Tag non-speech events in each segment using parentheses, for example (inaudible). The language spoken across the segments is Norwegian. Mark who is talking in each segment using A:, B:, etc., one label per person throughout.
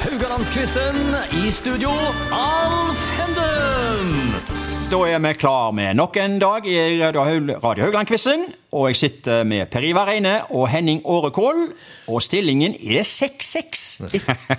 A: Haugalandsquizen. I studio, Alf Henden.
B: Da er vi klar med nok en dag i Radio Haul- Radio Haugland-quizen. Og jeg sitter med Per Ivar Reine og Henning Årekål. Og stillingen er (laughs) 6-6.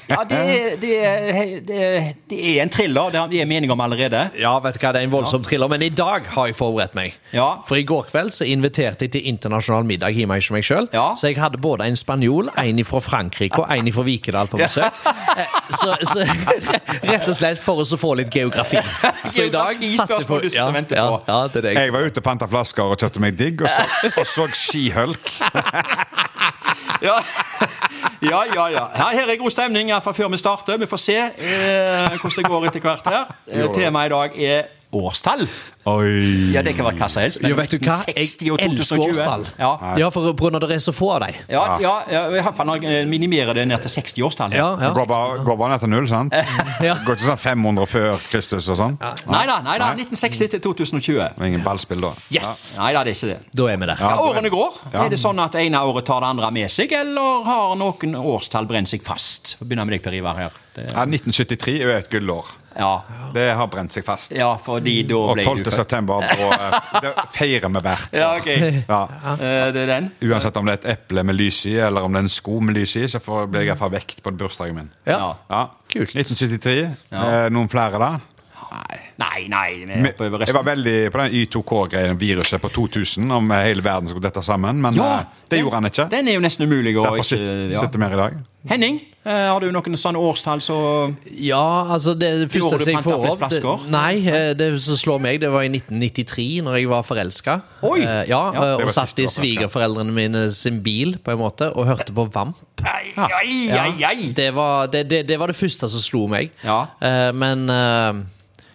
B: Ja, det er, det, er, det, er, det er en thriller. Det har vi er mening om allerede.
C: Ja, vet du hva, det er en voldsom thriller, men i dag har jeg forberedt meg.
B: Ja.
C: For i går kveld så inviterte jeg til internasjonal middag hjemme hos meg sjøl.
B: Ja.
C: Så jeg hadde både en spanjol, en fra Frankrike og en fra Vikedal på
B: (laughs)
C: besøk. Eh, Så, (laughs) så rett og slett for oss å få litt
B: (laughs)
C: geografi. Så i dag satser
B: Geografi,
C: jeg på
B: spørsmål du sitter
C: ja,
B: og venter
C: ja,
B: på.
C: ja, det er det jeg
D: Jeg var ute og panta flasker og kjøpte meg digg, og så, og så skihølk.
B: (laughs) Ja, ja, ja. ja. Her, her er god stemning iallfall før vi starter. Vi får se eh, hvordan det går etter hvert (laughs) her. Eh, Temaet i dag er årstall.
D: Oi.
B: Ja, det kan være hva som helst. men
C: Ja, vet du hva?
B: 60
C: Jeg
B: og
C: elsker
B: 2020.
C: årstall.
B: Ja.
C: Ja, for Bruno, det er så få av dem.
B: Ja, ja, ja, i hvert fall når jeg minimerer det ned til 60-årstallet.
C: Ja, ja.
D: Går bare, går bare ned til null, sant?
C: Ja.
D: Går ikke sånn 500 før Kristus og sånn?
B: Nei da, nei da. 1960 til 2020.
D: Det er ingen ballspill da.
C: Yes!
B: Nei da, det er ikke det.
C: Da er vi der.
B: Ja,
D: Ja,
B: årene går.
D: Ja.
B: Er det sånn at det ene året tar det andre med seg, eller har noen årstall brent seg fast? Vi Begynner med deg, Per Ivar. her. Det,
D: Ja, 1973 er jo et gullår.
B: ja.
D: Det har brent seg fast.
B: ja, fordi da
D: Og
B: ble
D: 12.
B: du født.
D: september på, eh, det feirer vi hvert.
B: Ja, ok.
D: Ja.
B: Eh, det er den.
D: Uansett om det er et eple med lys i, eller om det er en sko med lys i, så får- blir jeg iallfall vekt på bursdagen min.
C: Ja.
D: Ja.
C: Kult.
D: 1973. Eh, noen flere, da? Nei.
B: Nei, nei. Vi er oppe over
D: Jeg var
B: resten.
D: veldig på den Y2K-greien, viruset på 2000, om hele verden skulle dette sammen. Men eh, det gjorde han ikke.
B: Den er jo nesten umulig å
D: Derfor sit-
B: ikke- ja.
D: sitter vi her i dag.
B: Henning, eh, har du noen sånne årstall så
C: Ja, altså det første
B: du
C: som jeg
B: panta
C: får
B: flest
C: opp det,
B: flasker?
C: Nei, eh, det som slår meg, det var i 1993, når jeg var forelska.
B: Oi!
C: Eh, Ja,
B: Ja,
C: eh,
D: det
C: og
D: var
C: satt
D: siste
C: i
D: du var forelsket.
C: svigerforeldrene mine sin bil, på en måte, og hørte på Vamp.
B: Ai, ai, ai, ai.
C: Det var det, det, det, var det første som slo meg.
B: Ja.
C: Eh, Men eh,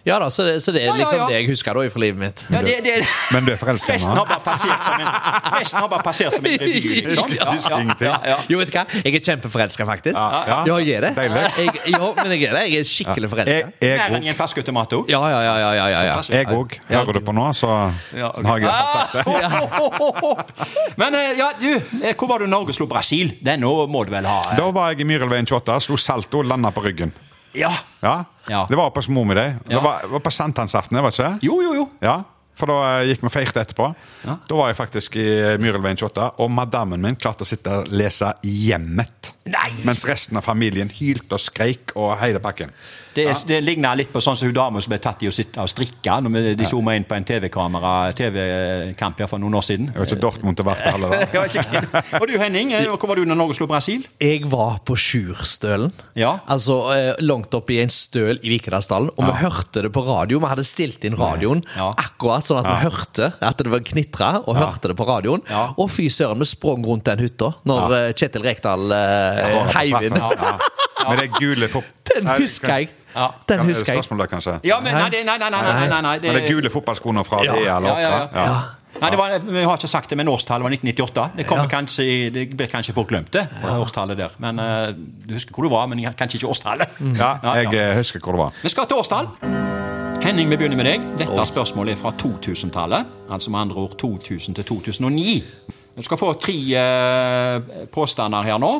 C: Ja da, så det, så det er
B: Ja, ja,
C: liksom
B: ja.
C: det jeg husker da fra livet mitt.
B: Ja, det, det,
D: Men du er forelska i
B: Resten har
D: ham?
B: bare passert som en, resten har bare passert
D: (laughs)
B: som en revy. Liksom.
D: Jeg synes ingenting.
C: (laughs) Jo, vet du hva? Jeg er kjempeforelska, faktisk.
D: Ja, ja.
C: jeg er det.
D: Så deilig.
C: Jeg, jo, men jeg er det. Jeg er skikkelig
D: Jeg
C: forelska.
B: Mer enn
D: òg.
B: i en flaske tomato.
C: Ja, ja, ja. ja, ja, ja, ja.
D: Jeg òg. Hører du på nå, så har jeg iallfall
B: Ah!
D: sagt det.
B: (laughs) Men eh, ja, du, eh, hvor var du Norge slo Brasil? Den nå må du vel ha? eh.
D: Da var jeg i Myrelveien 28, slo salto og landa på ryggen.
B: Ja.
D: Ja?
B: Ja.
D: Det var oppe hos mor mi, det.
B: Ja.
D: Det var, var på sankthansaften, det, var ikke det?
B: Jo, jo, jo.
D: Ja, for da eh, gikk vi og feirte etterpå. Da var jeg faktisk i Myrelveien 28, og madammen min klarte å sitte og lese Hjemmet.
B: Nei.
D: Mens resten av familien hylte og skreik og heide pakken.
B: Det, er- det ligner litt på sånn som hun dama som ble tatt i å sitte og strikke når vi- de zooma inn på en TV-kamera TV-kamp her for noen år siden.
D: Det var
C: Eh,
D: ikke Dortmund til hvert heller.
C: (laughs)
D: da.
B: (laughs) Ja, ikke- Og du Henning, eh, hvor var du når Norge slo Brasil?
C: Jeg var på Sjurstølen.
B: Ja.
C: Altså eh, langt oppe i en støl i Vikedalsdalen. Og vi hørte det på radio. Vi hadde stilt inn radioen
B: Ja.
C: akkurat sånn at vi hørte at det var knitra, og hørte det på radioen.
B: Ja.
C: Og fy søren, vi sprang rundt den hytta når eh, Kjetil Rekdal eh, heiv inn.
D: Ja. Med det gule fot...
C: Den
D: Nei,
C: husker jeg!
B: Ja.
C: Den
D: kan- kan-
C: husker jeg.
D: Spørsmål der, kanskje?
B: Ja, men nei, det- nei, nei, nei, nei, nei, nei
D: Med det gule fotballskoene fra
C: Ja.
D: ja. EL
B: Ja,
D: 8?
B: ja, ja. Nei, det var, Vi har ikke sagt det, men årstallet var 1998. Det kommer kanskje, i- det blir kanskje folk glemt det, årstallet der. Men eh, Du husker hvor du var, men jeg- kanskje ikke årstallet. Mm. Ja, ja.
D: jeg eh, husker hvor det var.
B: Vi skal til årstall. Henning, vi begynner med deg. Dette spørsmålet er fra 2000-tallet. Altså med andre ord 2000 til 2009. Du skal få tre eh, påstander her nå.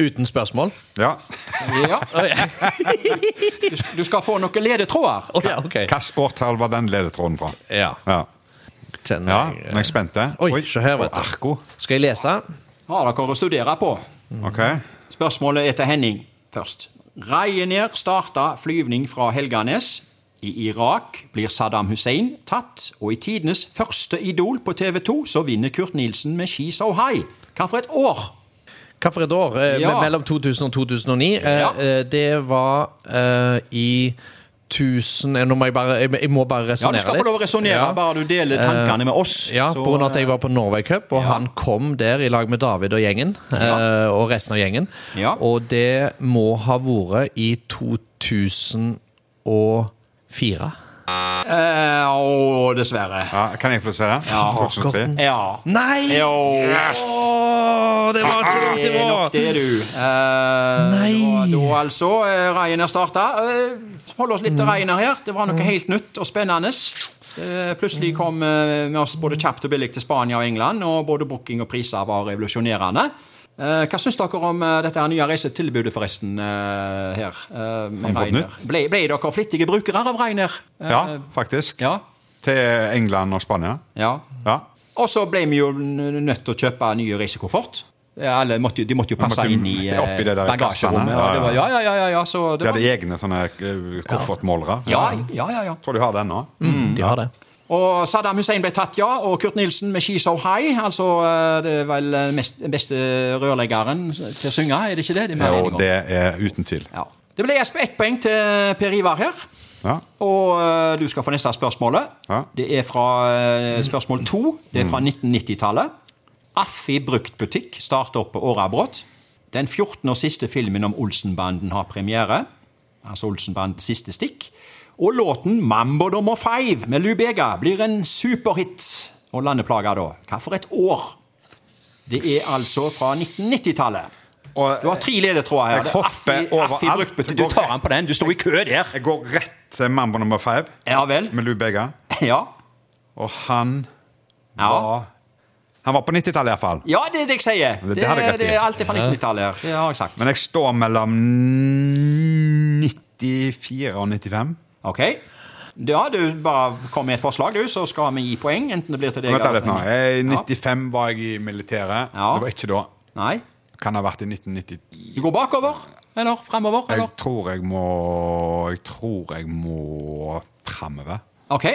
C: Uten spørsmål.
D: Ja.
B: Ja. (laughs) Du, sk- du skal få noen ledetråder.
C: Å ja, ok.
D: Hvilket årtall var den ledetråden fra?
C: Ja,
D: Ja, ja
C: kjenner
D: nå
C: jeg.
D: er jeg spent. det.
C: Oi, se her, vet du.
D: Arko.
C: Skal jeg lese?
B: Har dere å studere på?
D: Ok.
B: Spørsmålet er til Henning først. Ryanair starta flyvning fra Helganes. I Irak blir Saddam Hussein tatt, og i tidenes første Idol på TV 2 så vinner Kurt Nilsen med She So High. Hva for et år?
C: Hva for et år? Eh, me-
B: Ja.
C: Mellom 2000 og 2009. Eh,
B: Ja.
C: eh, Det var eh, i 1000 eh, Nå må jeg bare Jeg, jeg må bare
B: Ja,
C: resonnere
B: Du
C: litt.
B: skal få lov å resonnere,
C: Ja. Eh,
B: bare du deler tankene med oss.
C: Ja,
B: Så,
C: på grunn av at jeg var på Norway Cup, og han kom der i lag med David og gjengen.
B: Ja.
C: eh, Og resten av gjengen.
B: Ja.
C: Og det må ha vært i 2004.
B: eh, Å, dessverre.
D: Ja, kan jeg få se det?
B: Ja.
D: 2003.
B: Ja.
C: Nei!
B: Jo.
C: Åh, det var ikke langt
B: Det er nok
C: ifra!
B: det, du. Eh,
C: Nei.
B: Da, da altså, eh, Ryanair starta. Eh, hold oss litt
C: Mm.
B: til Ryanair her. Det var noe helt nytt og spennende. Eh,
C: Mm.
B: plutselig kom eh, med oss både kjapt og billig til Spania og England, og både booking og priser var revolusjonerende. Eh, Hva syns dere om eh, dette her nye reisetilbudet, forresten, eh, her? eh, med
D: Har vi
B: Ryanair?
D: fått nytt?
B: Ble, ble dere flittige brukere av Reiner?
D: Ja, faktisk.
B: Eh, Ja.
D: Til England og Spania.
B: ja.
D: Ja.
B: Og så ble vi jo n- nødt til å kjøpe nye reisekoffert. Eh, Alle måtte, jo- de måtte jo passe
D: måtte jo
B: inn i eh,
D: oppi det der kassene,
B: bagasjerommet.
D: ja,
B: og det var- Ja, ja, ja, ja, ja, så det
D: De
B: var,
D: hadde egne sånne eh, koffertmålere.
B: ja, ja, ja, ja.
D: Tror de har den nå.
C: De har det.
B: Og Saddam Hussein ble tatt, ja. Og Kurt Nilsen med 'She's So High'. Altså, eh, det er vel eh, mest, beste rørleggeren til å synge, er det ikke det? det, er vi enige
D: Og
B: om.
D: det er uten tvil.
B: Ja. Det ble ett ett poeng til Per Ivar her.
D: Ja.
B: Og eh, du skal få neste spørsmålet.
D: Ja. Mm.
B: Det er fra eh, spørsmål to. Det er fra 1990-tallet. Affi bruktbutikk starter opp på Årabrot. Den 14. og siste filmen om Olsenbanden har premiere. Altså Olsenbandens siste stikk. Og låten 'Mambo nummer five' med Lubega blir en superhit. Og landeplager, da. Hva for et år? Det er altså fra 1990-tallet.
D: Og- eh,
B: Du har tre ledetråder her.
D: Jeg
B: Det er
D: hopper
B: Affi- Affi
D: overalt.
B: bruktbutikk. Du tar den på den. Du sto i kø der.
D: Jeg går rett til Mambo nummer five
B: Ja vel.
D: med Lou Bega.
B: Ja.
D: Og han
B: ja.
D: var Han var på 90-tallet iallfall.
B: Ja, det er det jeg sier.
D: Det- det hadde jeg rett i.
B: det er alltid fra 1990-tallet. her. Det har jeg sagt.
D: Men jeg står mellom 94 og 95.
B: Ok. Ja, du bare kom med et forslag, du, så skal vi gi poeng. Enten det blir til deg
D: Vent da litt nå.
B: til
D: Jeg, I
B: meg.
D: 95 var jeg i militæret.
B: Ja.
D: Det var ikke da.
B: Ja. Nei.
D: Kan ha vært i 1990.
B: Du går bakover? Eller fremover?
D: Jeg
B: Eller?
D: tror jeg må Jeg tror jeg må framover.
B: Ok.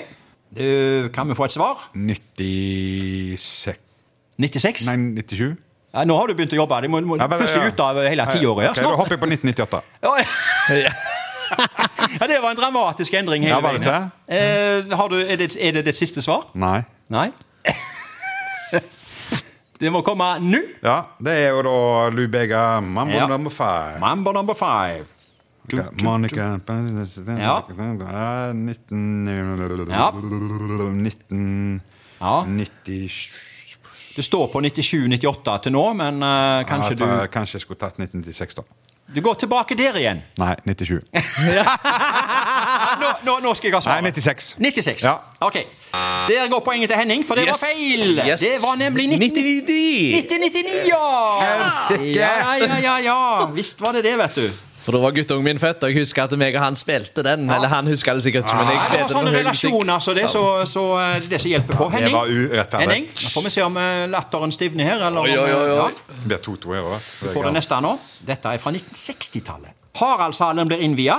B: Du, kan vi få et svar?
D: 96
B: 96?
D: Nei, 97?
B: Ja, nå har du begynt å jobbe. Du må, må
D: Ja, men-
B: plutselig ut av hele tiåret.
D: Ok,
B: her
D: Da
B: snart.
D: hopper jeg på 1998.
B: Ja, (laughs) ja. ja, det var en dramatisk endring hele
D: Ja, var det
B: veien. Eh, har du, er, det, er det ditt siste svar?
D: Nei.
B: Nei? (laughs) det må komme nå.
D: Ja, det er jo da Lubega Mambo
B: Ja.
D: number five.
B: Mambo number five. Du,
D: Ja,
B: du,
D: Monica
B: du.
D: ja. 19...
B: Ja.
D: 1997
B: Ja, det står på 97-98 til nå, men eh, kanskje
D: ja, ta- Kanskje jeg skulle tatt 1996, da.
B: du Du går tilbake der igjen.
D: Nei, 97.
B: nå, nå, nå skal jeg ha svaret.
D: Nei, 96.
B: 96.
D: Ja.
B: Ok. Der går poenget til Henning, for det var feil.
C: Yes.
B: Det var nemlig 1999,
C: 99!
B: 1999 ja!
D: Helsike!
B: Ja, ja, ja, ja. Visst var det det, vet du.
C: For da var guttungen min født, og jeg husker at meg og han spilte den. Eller han husker det sikkert ikke, men jeg
B: Ah, Det var sånn
C: spilte den.
B: sånne
C: og hun sånn musikk.
B: relasjoner, så det er så, så eh, det som hjelper på. Henning,
D: var urettferdig.
B: Henning, nå får vi se om eh, latteren stivner her. Eller om, eh,
C: Oi, oi, oi, oi.
B: ja.
D: Det blir 2-2 her òg.
B: får det neste nå. Dette er fra 1960-tallet. Haraldshallen blir innvia.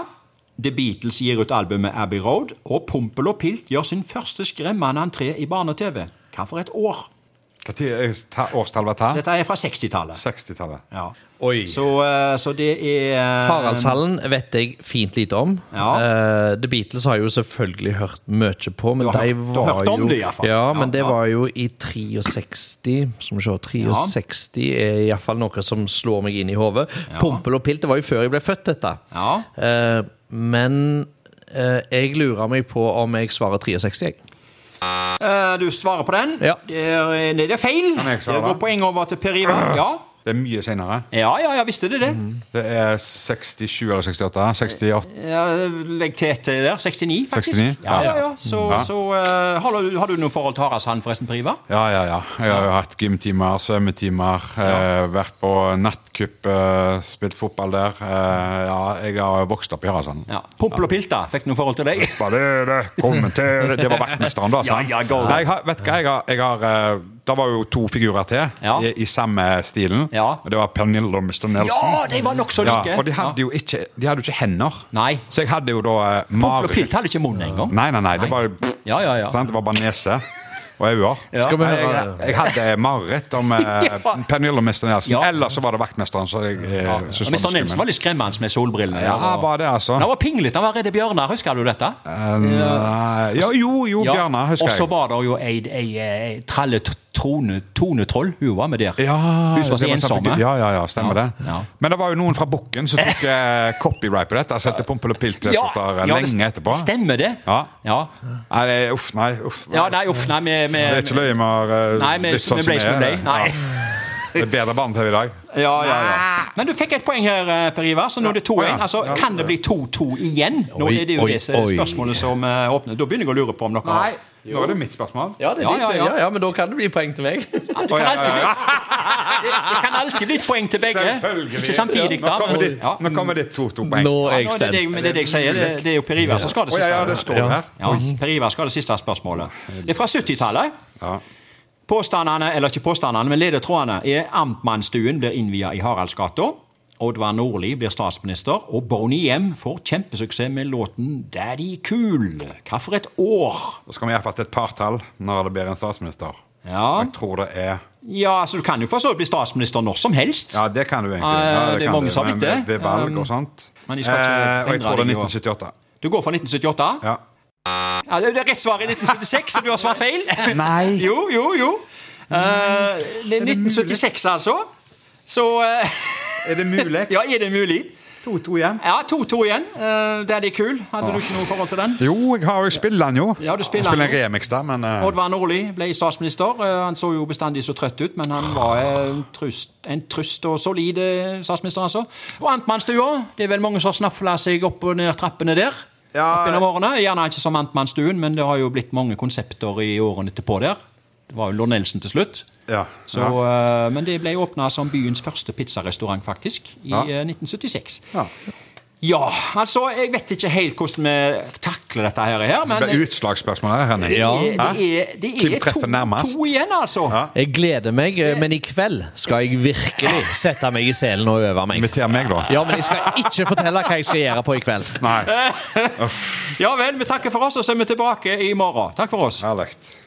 B: The Beatles gir ut albumet Abbey Road, og Pompel og Pilt gjør sin første skremmende entré i barne-TV. Hva for et år?
D: Årstall var ta?
B: Dette er fra 60-tallet.
D: 60-tallet.
B: Ja.
C: Oi.
B: Så, eh, så det er eh,
C: Haraldshallen vet jeg fint lite om.
B: Ja.
C: Eh, The Beatles har jeg jo selvfølgelig hørt mye på, men
B: Du har
C: de
B: hørt- du har
C: var
B: hørt om
C: jo
B: det i hvert fall.
C: Ja,
B: Ja,
C: men det
B: ja.
C: var jo i 63 Som se, 63 er iallfall noe som slår meg inn i hodet. Pompel og pilt, det var jo før jeg ble født, dette.
B: Ja.
C: Eh, men eh, jeg lurer meg på om jeg svarer 63, jeg.
B: eh, Du svarer på den.
C: Ja.
B: Det, er, eh, det er feil.
D: Kan jeg
B: Det
D: svare?
B: går poeng over til Per Ivar. Ja. Mm.
D: Det er mye senere.
B: ja, ja, ja, visste det det.
D: Det er 67 eller 68? 68.
B: Ja, legg til til der. 69, faktisk.
D: 69?
B: Ja, ja, ja.
D: Ja.
B: Så,
D: Ja.
B: så eh, har, du, har du noe forhold til Haraldshand, forresten, Per Ivar?
D: Ja, ja, ja. Jeg har jo hatt gymtimer, svømmetimer, eh, vært på nattcup, eh, spilt fotball der. Eh, ja, jeg har vokst opp i Haraldsand.
B: Ja. Pompel og Pilta, fikk noe forhold til deg?
D: Hva er det? Kommer til (laughs) Det var vaktmesteren, da. sant?
B: Ja, ja, go.
D: Nei, jeg har, vet du hva, jeg har, jeg har eh, Det var jo to figurer til
B: Ja.
D: i, i samme stilen.
B: Ja.
D: Og Det var Pernille og Mr. Nelson.
B: Ja, de var nokså like.
D: og de hadde jo ikke, de hadde jo ikke hender.
B: Nei.
D: Så jeg hadde jo da eh,
B: Pompel og
D: mareritt.
B: Pilt hadde ikke munn engang.
D: Nei, nei, nei. Det var,
B: Ja, ja, ja.
D: Sant? Det var bare nese og øyne.
C: Skal vi
D: Nei,
C: høre-
D: Jeg, jeg hadde mareritt
B: (laughs)
D: om eh, Pernille og Mr. Nelson.
B: Ja.
D: Eller så var det vaktmesteren. Så jeg, eh,
B: Og Mr.
D: synes det var
B: Nilsen var
D: skummelt.
B: litt skremmende med solbrillene.
D: Ja,
B: og-
D: var det, altså.
B: Han var pinglete, han var redd bjørner, husker du dette?
D: Nei, Eh, ja, jo, jo,
B: Ja.
D: Bjarne, husker
B: Og så
D: jeg.
B: var det jo ei, ei, ei tralle t- trone, tonetroll hun var med der.
D: Ja,
B: hun som var så eh?
D: det var sant,
B: ensomme.
D: ikke- Ja, ja, ja, stemmer
B: Ja,
D: det.
B: ja.
D: Men det var jo noen fra Bukken som tok eh, copyright på dette. Altså etter Pompel og Pilt
B: Ja,
D: resultater
B: ja, det
D: lenge etterpå.
B: Stemmer det?
D: Ja.
B: Ja,
D: Nei, det- uff, nei. uff
B: Ja, nei, uff, nei, vi, vi,
D: Det er ikke løye vi har eh,
B: nei, vi,
D: blitt sånn
B: vi
D: som
B: ble som
D: vi er.
B: deg. Nei.
D: Ja. Det er bedre barne-TV i dag.
B: Ja, ja, ja.
D: Ah.
B: Men du fikk et poeng her, eh, Per Ivar, så nå er det 2-1.
D: Å, ja.
B: Altså,
D: Ja.
B: kan det bli 2-2 igjen? Nå
C: Oi,
B: er det jo
C: oi,
B: disse
C: oi.
B: spørsmålene som eh, åpner. Da begynner jeg å lure på om dere har
D: Nå er det mitt spørsmål.
C: Ja, det er
B: Ja,
C: ditt,
B: ja,
C: det.
B: ja.
C: ja, ja, men da kan det bli poeng til meg.
B: Du kan
D: ja,
B: alltid bli, det, det kan alltid bli et poeng til begge.
D: Selvfølgelig.
B: Ikke samtidig,
D: Nå
B: da.
D: kommer ditt,
B: Ja.
D: nå kommer ditt to-to-poeng.
C: Nå er
B: Nå
C: jeg
B: er det, det,
C: spent.
B: men det er det jeg sier, det, det er jo Per Ivar som skal ha det
D: Å ja,
B: siste.
D: ja, det står det her.
B: Ja, Per Ivar skal ha det siste spørsmålet. Det er fra 70-tallet.
D: Ja.
B: Påstandene, eller ikke påstandene, men ledetrådene er Amtmannsstuen blir innvia i Haraldsgata. Oddvar Nordli blir statsminister, og Bonnie Hjem får kjempesuksess med låten 'Daddy Cool'. Hva for et år?
D: Da skal vi iallfall til et partall når det blir en statsminister.
B: Ja.
D: Jeg tror det er
B: Ja, altså Du kan jo for så vidt bli statsminister når som helst.
D: Ja, det kan du egentlig.
B: Eh,
D: Ja,
B: det er
D: kan
B: mange
D: du,
B: som har
D: men
B: blitt det.
D: Ved, ved valg og sånt.
B: men de skal ikke
D: Eh, og jeg
B: forhindre
D: tror det er
B: deg i å-
D: 1978.
B: Du går for 1978?
D: Ja.
B: Ja, det er rett svar i 1976, så du har svart feil. (laughs)
D: Nei.
B: Jo, jo, jo. Eh, det er 1976, altså. Så eh,
D: Er det mulig?
B: (laughs) Ja, er det mulig?
D: 2-2 igjen.
B: Ja, 2-2 igjen. Eh, Daddy Cool. Hadde
D: Ah.
B: du ikke noe forhold til den?
D: Jo, jeg har jo spiller den jo.
B: Ja, du spiller
D: jeg
B: den
D: spiller
B: jo.
D: en remix der, men eh,
B: Oddvar Nordli ble statsminister. Eh, Han så jo bestandig så trøtt ut, men han var eh, en trust, en trust og solid eh, statsminister, altså. Og Amtmannsstua. Det er vel mange som har snafla seg opp og ned trappene der.
D: Ja.
B: opp gjennom årene. Gjerne ikke som Amtmannsstuen, men det har jo blitt mange konsepter i årene etterpå der. Det var jo Lord Nelson til slutt.
D: Ja,
B: Så, eh, Men det ble åpna som byens første pizzarestaurant, faktisk, i
D: Ja.
B: eh, 1976.
D: ja.
B: Ja, altså, jeg vet ikke helt hvordan vi takler dette her, her men
D: Det er Utslagsspørsmål her, Henning.
B: det, er, det, er,
D: Hvem
B: det er
D: treffer nærmest?
B: to, to igjen, altså.
D: Ja.
C: Jeg gleder meg, eh, men i kveld skal jeg virkelig sette meg i selen og øve meg.
D: Inviter meg, da.
C: Ja, men jeg skal ikke fortelle hva jeg skal gjøre på i kveld.
D: Nei.
B: Ja vel, vi takker for oss, og så er vi tilbake i morgen. Takk for oss. (laughs)
D: Herlig.